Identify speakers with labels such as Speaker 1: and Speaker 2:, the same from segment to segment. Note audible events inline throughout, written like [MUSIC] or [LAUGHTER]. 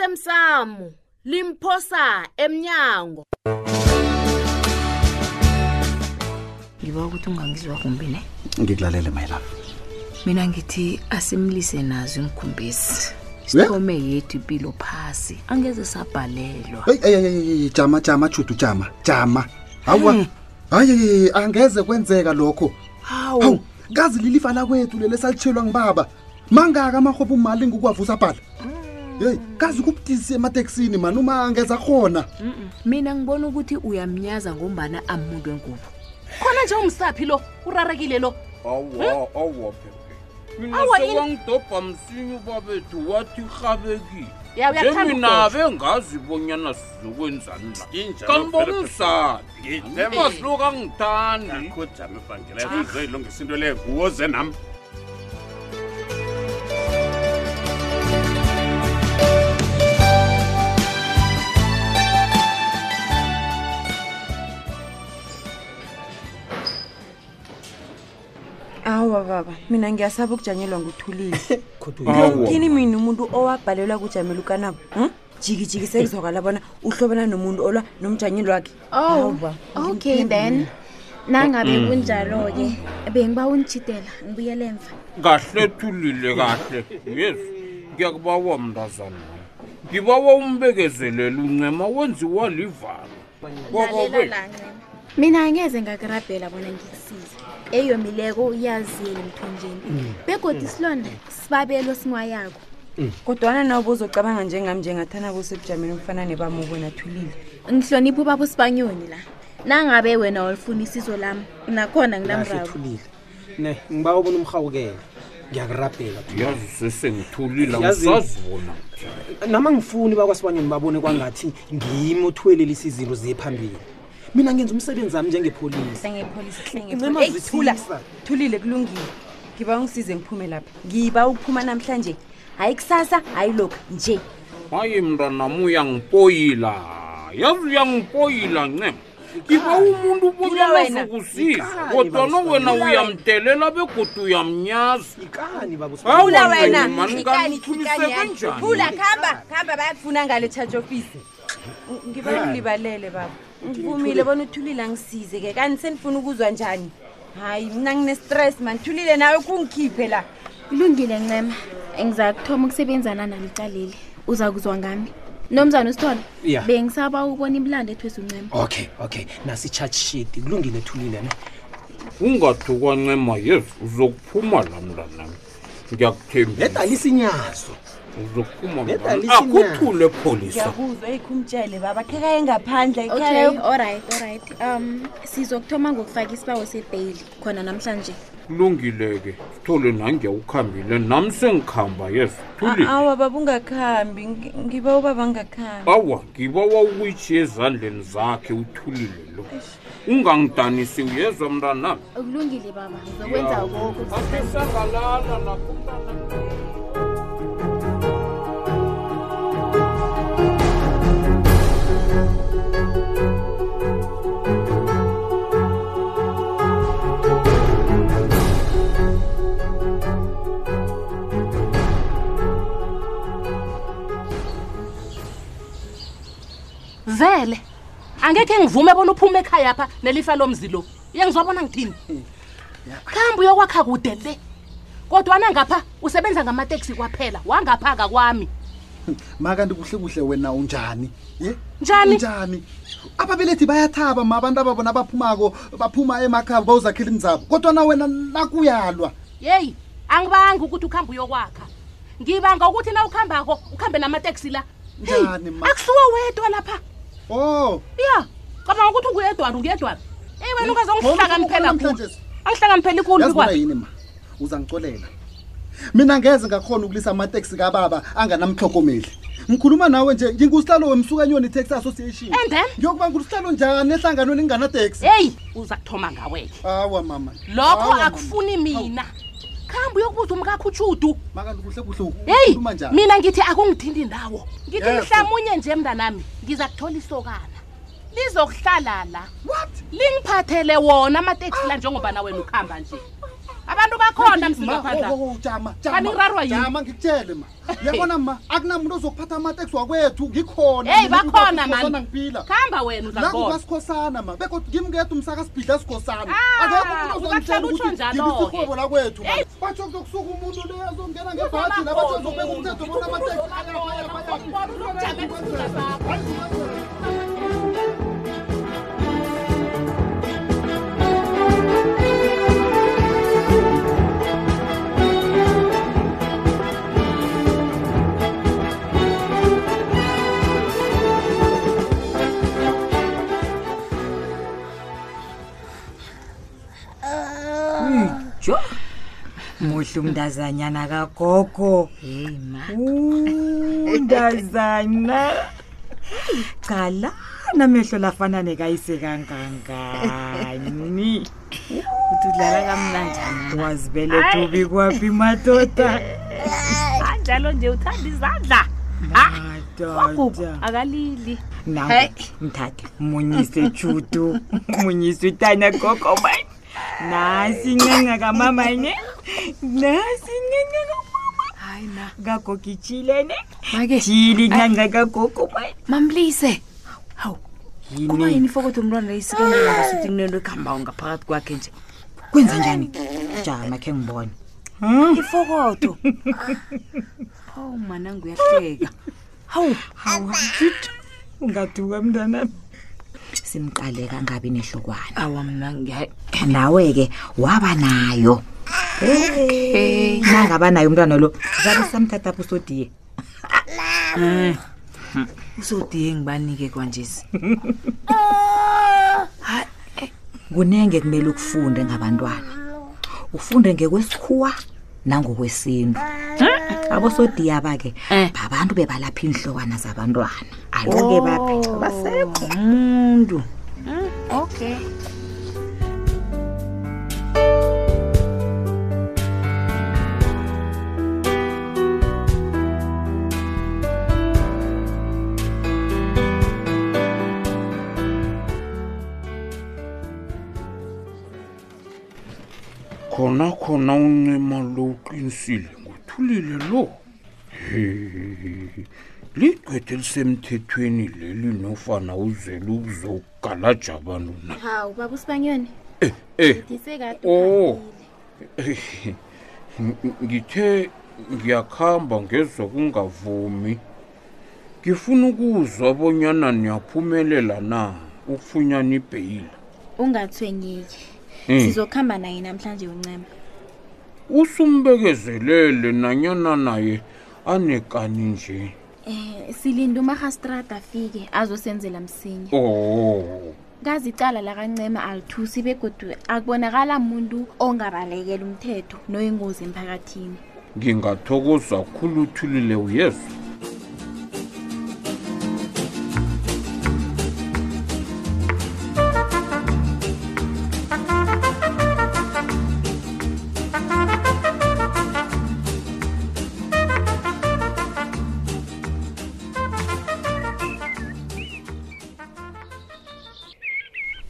Speaker 1: osemsamo limphosa emnyango
Speaker 2: ngiba ukuthi ungangizwa kumbi ne
Speaker 3: ngikulalele my love
Speaker 2: mina ngithi asimlise nazo inkhumbesi sithome yethu impilo phasi angeze sabhalelwa
Speaker 3: Hey, hey, hey, hey, hey, jama jama judu jama jama hawa hayi angeze kwenzeka lokho hawu kazi lilifa lakwethu leli salitshelwa ngibaba mangaka amahwebo umali ngukwavusa bhala yeyi kazi kubudisi emateksini mani uma angeza khona
Speaker 2: mina ngibona ukuthi uyamnyaza ngombana amuntu wengubo
Speaker 1: khona nje umsaphi lo urarekile lo
Speaker 4: awa awa phephe mina
Speaker 1: Awa, yini?
Speaker 4: sewangidobha msinya ubabethu wathi rhabekile
Speaker 1: Ya, uyathanda
Speaker 4: mina
Speaker 1: ukudobha.
Speaker 4: bengazi bonyana sizokwenzani la
Speaker 5: Injalo,
Speaker 4: kambona
Speaker 5: phela,
Speaker 4: umsaphi
Speaker 5: Ngi-
Speaker 4: amasuku angithandi
Speaker 5: kojama ebhangela uzoyilungisa into leyo nguwo ze nam
Speaker 6: awa baba mina ngiyasaba ukujanyelwa nguthulile
Speaker 4: Awa.
Speaker 6: kini mina umuntu owabhalelwa kujamela ukanabo um jikijiki sekuzwakala bona uhlobana nomuntu olwa nomjanyelo wakhe
Speaker 7: Oh, okay then. Nangabe kunjalo ke, bengiba ungitshidela ngibuyele emva.
Speaker 4: kahle thulile kahle yesu ngiyakubawa mntazana ngibawa umbekezelela uncema wenziwa livalo
Speaker 7: Lalela la Ncema. Mina angeze ngakurabhela bona ngikusize. Eyomileko uyazile emthonjeni. Begodi silonda sibabelo sinwayako.
Speaker 6: kodwana nawe bozocabanga njengami njengathanabo sebujameni umfana nebamuko nathulile
Speaker 7: Ngihlonipha ubaba uSibanyoni la. Nangabe wena ulifuna isizo lami, nakhona nginamrawo.
Speaker 8: thulile ne ngiba ubona umhawukele ngiyakurabhela
Speaker 4: yazi sesengithulile
Speaker 8: Yazi-
Speaker 4: ngisazibona
Speaker 8: nama ngifuni bakwasibanyoni babone kwangathi ngimi othwelelisa izinto ziye phambili mina ngenza umsebenzi wami njengepholisa Ncema,
Speaker 6: thula
Speaker 8: zithulisa.
Speaker 6: thulile kulungile ngiba ungisize ngiphume lapha ngiba ukuphuma namhlanje hayi kusasa hayi lokhu nje
Speaker 4: hayi mntanam uyangipoyila yazi uyangipoyila ncema ngiba umuntu
Speaker 6: Thula wena.
Speaker 4: bonyanazokusiza
Speaker 8: Ikani
Speaker 4: kodwana
Speaker 8: baba,
Speaker 4: wena
Speaker 8: thula
Speaker 4: uyamdelela begodu uyamnyaza
Speaker 8: ikani babusibanyoni
Speaker 6: thula
Speaker 4: Thula
Speaker 6: wena
Speaker 4: wena,
Speaker 6: ikani,
Speaker 4: ngithuliseke
Speaker 6: ikani yakho.
Speaker 4: njani?
Speaker 6: thula kuhamba kuhamba bayakufuna ngale charge office ngiba ngilibalele baba ngivumile bona uthulile angisize ke kanti senifuna ukuzwa njani hayi mna ngine-stress mani thulile nawe kungikhiphe la
Speaker 7: Kulungile Ncema. Ngiza kuthoma ukusebenzana nami qaleli. Uza kuzwa ngami. Nomzana uSithole,
Speaker 8: Ya.
Speaker 7: bengisaba ukubona imlando ethwesa uNcema.
Speaker 8: okay okay nasi i-charge sheet kulungile thulile ne
Speaker 4: ungathukwa ncema yesu uzokuphuma la mntanam ngiyakuthembisa
Speaker 8: nedalisinyazo
Speaker 4: uzokuphuma
Speaker 8: Nedali
Speaker 4: mntanam.
Speaker 8: isinyama.
Speaker 4: akuthule pholisa
Speaker 6: ngiyakuzwa eyikhumtshele baba khekaye ngaphandle
Speaker 7: Okay, alright, alright. Um sizokuthoma ngokufaka isibawo sebhayili khona namhlanje.
Speaker 4: kulungile-ke sithole nangiya ukhambile nami sengikhamba yesu thulile
Speaker 6: awa baba ungakhambi ngi- ngiba ubaba ngakhambi
Speaker 4: awa ngibawa ukwitshe ezandleni zakhe uthulile lo ungangidanisi uyezwa mntanami
Speaker 7: Ukulungile baba, ngizokwenza koko.
Speaker 4: asisangalala nakumntanami
Speaker 9: vele angekhe ngivume bona uphume ekhaya pha nelifa lomzi lo iyangizwabona ngithini khambe uyokwakha kude le kodwana ngapha usebenza ngamateksi kwaphela wangaphaka kwami
Speaker 3: makanti kuhle kuhle wena unjani ye
Speaker 9: Njani?
Speaker 3: unjani ababelethi bayathaba ma abantu ababona baphumako baphuma emakhaya bawuzakhela imizabo kodwana wena nakuyalwa
Speaker 9: yeyi angibangi ukuthi ukhambe uyokwakha ngibanga ukuthi na ukuhambako ukuhambe namateksi la Hey,
Speaker 3: Njani, ma?
Speaker 9: akusiwo wedwa lapha
Speaker 3: o
Speaker 9: ya cabanga ukuthi unguyedwana unguyedwana eyi wena ungazongihlanganiphela
Speaker 3: Ngoba
Speaker 9: khulu
Speaker 3: namhlanje-
Speaker 9: angihlanganiphela ikhulu
Speaker 3: yazibona
Speaker 9: bikwami
Speaker 3: yini ma uzangicolela mina ngeze ngakhona ukulisa amateksi kababa anganamhlokomeli ngikhuluma nawe nje ngingusihlalo wemsukanyoni taxi association
Speaker 9: And then?
Speaker 3: ngiyokuba ngusihlalo njani ehlanganweni nginganateksi
Speaker 9: heyi uza kuthoma ngawe
Speaker 3: awa mama
Speaker 9: lokho
Speaker 3: Awa, mama.
Speaker 9: akufuni mina khambe uyokubuza umkakho utshudu
Speaker 3: makanti kuhle kuhle
Speaker 9: heyi
Speaker 3: ukhuluma njani
Speaker 9: mina ngithi akungithindi ndawo ngithi
Speaker 3: Yes.
Speaker 9: mhlamunye nje mntanami ngiza kuthola isokana lizokuhlala la
Speaker 3: what Ah.
Speaker 9: lingiphathele wona amateksi la njengoba na wena ukuhamba nje abantu bakhona
Speaker 3: oh,
Speaker 9: msilaphandla Kanirarwa yini?
Speaker 3: jama ngikutshele
Speaker 9: [LAUGHS]
Speaker 3: ma uyabona ma akunamuntu ozokuphatha amateksi wakwethu ngikhona
Speaker 9: Hey,
Speaker 3: Mina
Speaker 9: bakhona,
Speaker 3: ngingubaba
Speaker 9: man.
Speaker 3: uSkhosana ngiphila
Speaker 9: khamba wena
Speaker 3: la
Speaker 9: udlakona
Speaker 3: kukasikhosana ma bekodwa ngimngeda umsakasibhidla sikhosana
Speaker 9: Ah,
Speaker 3: akekho umuntu
Speaker 9: ungakuhlala
Speaker 3: ozangitshela
Speaker 9: utsho
Speaker 3: ukuthi
Speaker 9: njalo-ke.
Speaker 3: ngibisirhwebo lakwethu ma. batsho kuzokusuka umuntu le azongena ngebhaji la batsho uzobeka umthetho bona amateksi ayabaya, bayabaya.
Speaker 10: jo muhle umntazanyana kagogo umntazana qalana mehlo lafana nekayise kangangani uthi udlala kamnanjani wazibeletha ubi kwaphi madoda
Speaker 9: anjalo Ah, nje uthanda izandla
Speaker 10: madoda
Speaker 9: akalili
Speaker 10: nawe mthathe munyise judu [LAUGHS] munyise utanya gogo mani nasi incenga kamama ne nasi incenga kamama hayi na kagogo itshile ne
Speaker 2: make
Speaker 10: jili incenga kagogo mani
Speaker 2: mamlise hawu kuba
Speaker 10: yini
Speaker 2: yini fokothi umntwana leyisikengasuthi kunento ekuhambawo ngaphakathi kwakhe nje
Speaker 10: kwenza njani jama khe ngibone Hmm,
Speaker 2: ifokodo hawu manangu uyahleka hawu
Speaker 10: hawa judu ungaduka mntanami simqaleka ngabi nehlokwana
Speaker 2: awa mna ngiyayi
Speaker 10: nawe ke waba nayo Eh, nangaba nayo umntwana lo zabe samthathapha usodiye
Speaker 2: usodiye ngibanike kwanjesi
Speaker 6: [LAUGHS] Ah!
Speaker 10: kunenge kumele ukufunde ngabantwana ufunde ngekwesikhuwa nangokwesintu
Speaker 6: Hmm?
Speaker 10: abosodiya bake
Speaker 2: Eh.
Speaker 10: babantu bebalapha iinhlokwana zabantwana
Speaker 6: Oh,
Speaker 10: aloke baphi basekho
Speaker 2: umuntu
Speaker 4: khona khona uncema lo uqinisile ngothulile lo He, ligqwethe elisemthethweni leli nofana uzele ukuzokugalaja abantu na
Speaker 7: hawu baba usibanyoni
Speaker 4: Eh, eh
Speaker 7: ndisekade
Speaker 4: [LAUGHS] Oh. Ng- ngithe ngiyakhamba ngezwa kungavumi ngifuna ukuzwa bonyana niyaphumelela na ukufunyana ibheyila
Speaker 7: ungathwenyeki
Speaker 4: Mm.
Speaker 7: sizokuhamba naye namhlanje uncema
Speaker 4: usumbekezelele nanyana naye anekani nje
Speaker 7: um silinde umarhastrada afike azosenzela msinya
Speaker 4: oh
Speaker 7: kazi icala lakancema alithusi begodu akubonakala muntu ongabalekela umthetho noyingozi emphakathini
Speaker 4: ngingathokoza khulu uthulile uyezwa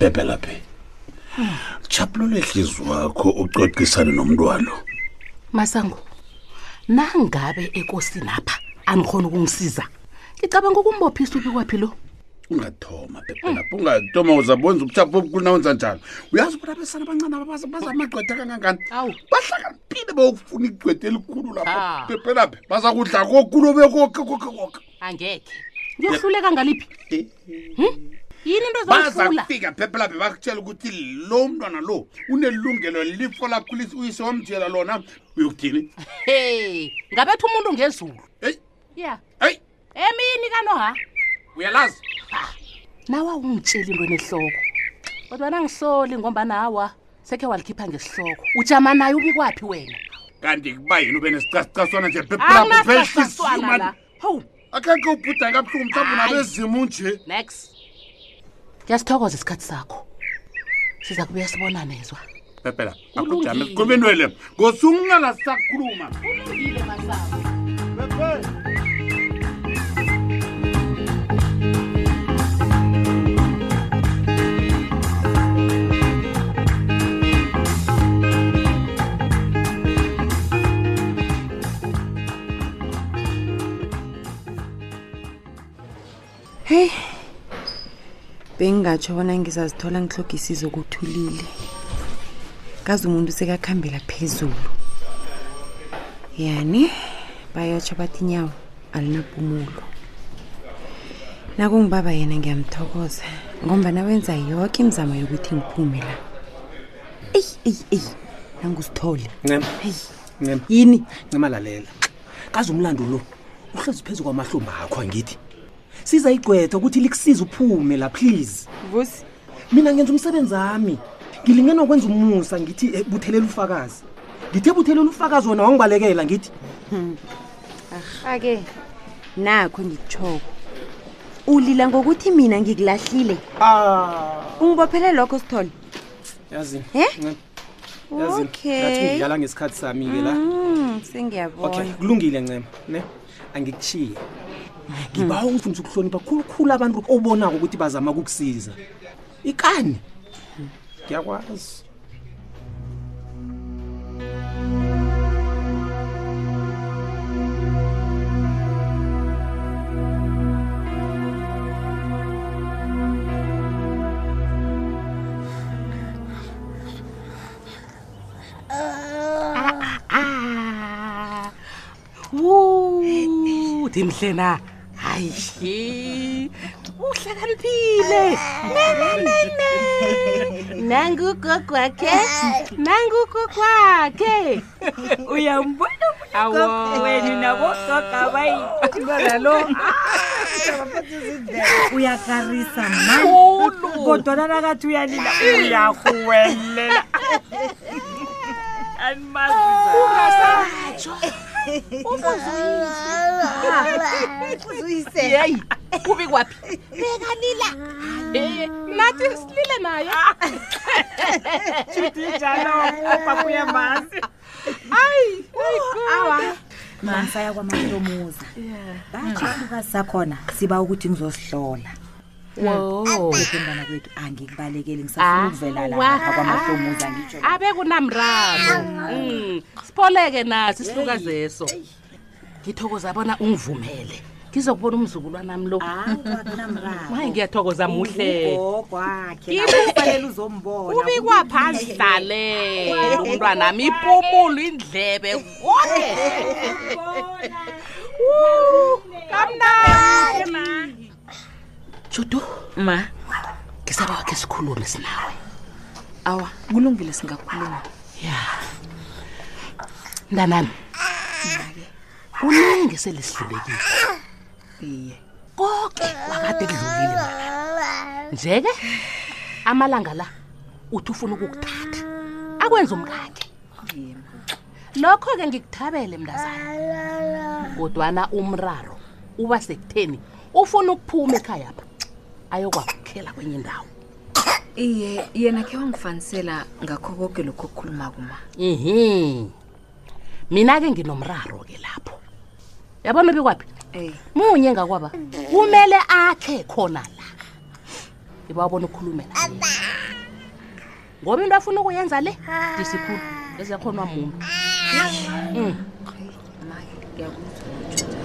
Speaker 5: bebelaphi chapulula ihlizi wakho ucocisane nomntwalo
Speaker 9: masango nangabe ekosini apha anikhona ukungisiza ngicabanga ukumbophisa ubi kwaphi lo
Speaker 5: ungathoma bebelaphi ungathoma uzabonza ubuchapho obukhulu nawenza njalo uyazi ukuthi abesana abancane ababaza amagcwetha kangangani
Speaker 9: awu
Speaker 5: bahlakaniphile bayokufuna igcwetha elikhulu
Speaker 9: Ah.
Speaker 5: lapho bebelaphi baza kudla kokulo bekoke koke koke
Speaker 9: angekhe ngiyohluleka ngaliphi Hm? yini into
Speaker 5: baza
Speaker 9: zongihlula
Speaker 5: kufika phephelaphi bakutshela ukuthi lo mntwana lo unelungelo lifo lakhulisa uyise wamjela lona uyokuthini
Speaker 9: he ngabetha umuntu ngezulu
Speaker 5: eyi
Speaker 9: ya
Speaker 5: eyi
Speaker 9: emini kanoha
Speaker 5: uyalazi
Speaker 9: nawe awungitsheli into nehloko kodwa nangisoli ngomba nawa sekhe walikhipha ngesihloko ujama naye ubi kwaphi wena
Speaker 5: kanti kuba yini ube nesicasicaswana nje
Speaker 9: akunasasaswana la
Speaker 5: phephelaphi
Speaker 9: howu
Speaker 5: akhekhe ubhudane kabuhlungu mhlawumbi
Speaker 9: Hayi.
Speaker 5: nabezimu nje
Speaker 9: next ngiyasithokoza isikhathi sakho siza kubuya sibonanezwa
Speaker 5: phephelaphi
Speaker 9: Ulungile.
Speaker 5: akujame siqubinwele ngosungala sakhuluma
Speaker 9: ulungile masango
Speaker 6: heyi bengingatsho bona ngizazithola ngihlogisise kuthulile kaze umuntu sekakhambela phezulu yani bayatsho bathi nyawo alinapumulo nakungibaba yena ngiyamthokoza ngombana wenza yoke imizamo yokuthi ngiphume la eyi eyi eyi nangusithole
Speaker 8: ncema ncema
Speaker 6: yini
Speaker 8: ncema lalela kaze umlando lo uhlezi phezu kwamahlomba akho angithi sizayigcwetha ukuthi likusize uphume la please
Speaker 6: vusi
Speaker 8: mina ngenza umsebenzi ami ngilingena ukwenza umusa ngithi eh, buthelela ufakazi ngithe buthelela ufakazi wona wangibalekela ngithi
Speaker 6: arhake nakho ngikutshoko ulila ngokuthi mina ngikulahlile
Speaker 8: "Ah,
Speaker 6: ungibophele lokho sithole
Speaker 8: yazini
Speaker 6: He?
Speaker 8: Ncema, yazini. Ngathi
Speaker 6: okay
Speaker 8: ngidlala ngesikhathi sami-ke la
Speaker 6: Mm,
Speaker 8: okay
Speaker 6: sengiyabona
Speaker 8: kulungile ncema ne angikuchiye
Speaker 7: Hmm.
Speaker 8: ngibawa ukuthi ukuhlonipha khulukhulu abantu obonako ukuthi bazama ukukusiza ikani ngiyakwazi
Speaker 9: Wu, dimhle na hayi uhle kaniphile
Speaker 6: nangugogwakhe nangugogwakhe
Speaker 10: uyambona
Speaker 6: Awo.
Speaker 10: wenu nabosokabayialo uyakarisa
Speaker 9: Khulu.
Speaker 10: kodwana nakathi uyalila uyakuwelela
Speaker 9: ungasatsho yeyi kubi kwaphi bekalila nathi silile nayo
Speaker 10: Njalo, apakuya masi.
Speaker 11: mansaya kwamahlomuza batsho isilukazi sakhona siba ukuthi ngizosihlola
Speaker 9: Wo.
Speaker 11: kodwa kwethu angikubalekeli ngisafuna ukuvela lapha
Speaker 9: wa.
Speaker 11: kwamahlomuza ngitsho
Speaker 9: abe kunamraro Mm, siboleke naso isilukazeso ngithokoza bona ungivumele ngizokubona umzukulwanami lo Ah. hayi ngiyathokoza muhle
Speaker 11: kwakhe
Speaker 9: Ibufanele
Speaker 11: uzombona
Speaker 9: ubikwa phansi dlalela umntwanami ipumulo indlebe konke kamnandi judu ma ngisaba wakhe sikhulume sinawe awa kulungile singakhuluma ya mntanami kuningi selisidlulekile iye konke wakade kudlulile ma. nje-ke amalanga la uthi ufuna ukukuthatha akwenza umkakhe lokho-ke ngikuthabele mntazana kodwana umraro uba sekutheni ufuna ukuphuma ekhaya pha ayokwakhela kwenye indawo
Speaker 12: iye yena khe wangifanisela ngakho konke lokhu okukhuluma kuma
Speaker 9: Mhm. mina-ke nginomraro-ke lapho yabona bikwaphi munye ngakwaba kumele akhe khona la ibawabona ukukhulumela ngoba into afuna ukuyenza le disikhulu ezakhonwa mumu Mm.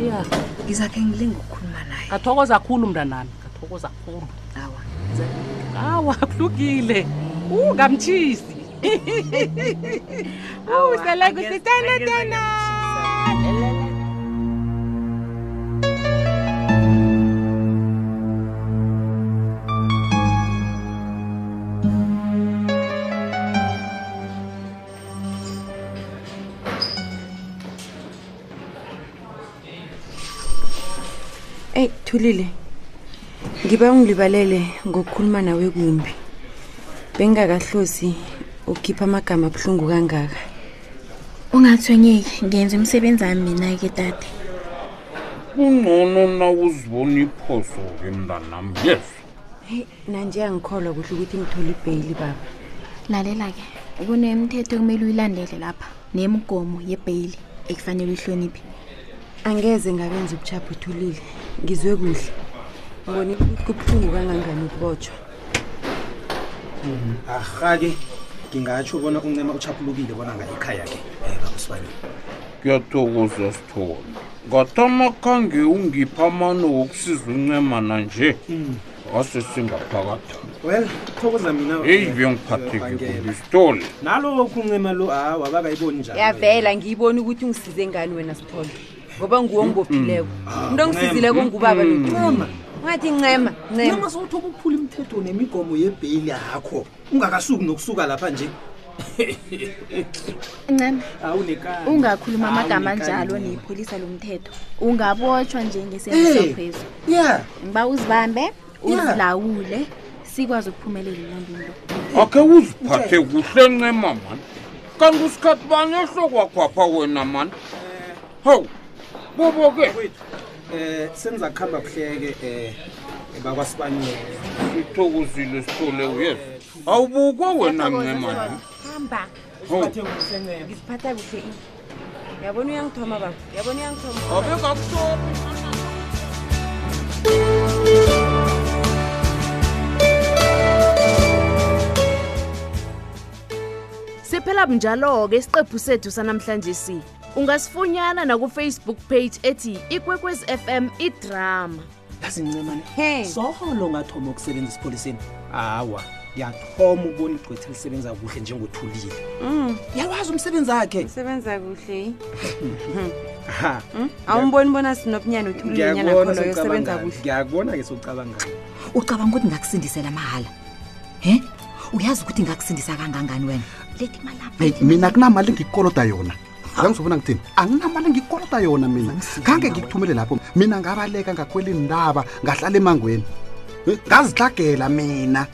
Speaker 9: ya
Speaker 12: ngizakhe ngilinga ukukhuluma naye
Speaker 9: ngathokoza khulu mntanami ngathokoza khulu
Speaker 12: awa
Speaker 9: awa kulukile [LAUGHS] ungamtshisi uselakusitenetena
Speaker 6: eyi thulile ngiba ungilibalele ngokukhuluma nawe kumbi bengingakahlosi ukhipha amagama abuhlungu kangaka
Speaker 7: ungathonyeki ngenza umsebenzi ami mina-ke dade
Speaker 4: kungcono na uzibona iphoso-ke mntanam yes
Speaker 6: heyi nanje angikholwa kuhle ukuthi ngithole ibheyili baba
Speaker 7: lalela-ke kunemithetho ekumele uyilandele lapha nemigomo yebheyili ekufanele uyihloniphe
Speaker 6: angeze ngakwenza ubuchapho uthulile ngizwe kuhle ngibone ukuthi kubuhlungu kangangani ukubotshwa
Speaker 8: Mm, Eh, arha-ke ngingatsho bona uncema uchaphulukile bona ngayikhaya-ke um babusibani
Speaker 4: kuyathokoza sithole ngathoma khange ungipha amano wokusiza uncema nanje ngase singaphakatha
Speaker 8: well thokoza mina
Speaker 4: heyi bengiphatheke kubi sithole
Speaker 8: nalokhu uncema lo hawa bakayiboni njani
Speaker 6: yavela ngiyiboni ukuthi ungisize ngani wena sithole ngoba nguwo ngibophileko
Speaker 8: Ah,
Speaker 6: umntu ongisizileko ngubaba noncema ungathi ncema ncema
Speaker 8: ncema sowuthoba ukuphula imithetho nemigomo yebheyili yakho ungakasuki nokusuka lapha nje
Speaker 7: ncema
Speaker 8: awunekani
Speaker 7: ungakhuluma amagama
Speaker 8: Awunekani,
Speaker 7: njalo
Speaker 8: Ncema.
Speaker 7: neyipholisa lomthetho ungabotshwa
Speaker 8: Eh,
Speaker 7: njengesenzisaphezulu
Speaker 8: yeah.
Speaker 7: ngiba uzibambe uzilawule sikwazi ukuphumelela ilandulo
Speaker 4: akhe uziphathe kuhle ncema mani kanti usikhathi bani ehlokwakho wena mani hawu bobo-ke
Speaker 8: um seniza kuhamba kuhleke um bakwaspanyela
Speaker 4: sithokozile sithole yes awubukwa wena ncema
Speaker 6: hamba ngiziphatha kuhle ini yabona uyangithoma baba yabona uyangithoma
Speaker 4: abekakuthoma
Speaker 13: siphela bunjalo-ke isiqephu sethu sanamhlanje si ungasifunyana nakufacebook page ethi ikwekwezi fm idrama
Speaker 8: yazi ncemane solo ngathoma ukusebenza esipholiseni hawa ngiyathoma ukubona igqwethi lisebenza kuhle njengothulile yawazi umsebenzi wakhe
Speaker 6: usebenza kuhle Hmm?
Speaker 8: Ha,
Speaker 6: awumboni bona sinobunyana uthulinyana
Speaker 8: ngiyakubona
Speaker 6: khona yosebenza
Speaker 8: sewucabangani.
Speaker 6: kuhle
Speaker 8: ngiyakubona-ke sowucabangani
Speaker 11: ucabanga ukuthi ngakusindisela mahala he uyazi ukuthi ngakusindisa kangangani wena lethi malapha
Speaker 3: Hey, mina kunamali ngikoloda yona yangizobona ngithini anginamali ngikoloda yona mina khange ngikuthumele lapho mina ngabaleka ngakhwela indaba ngahlala emangweni Eh, ngazihlagela mina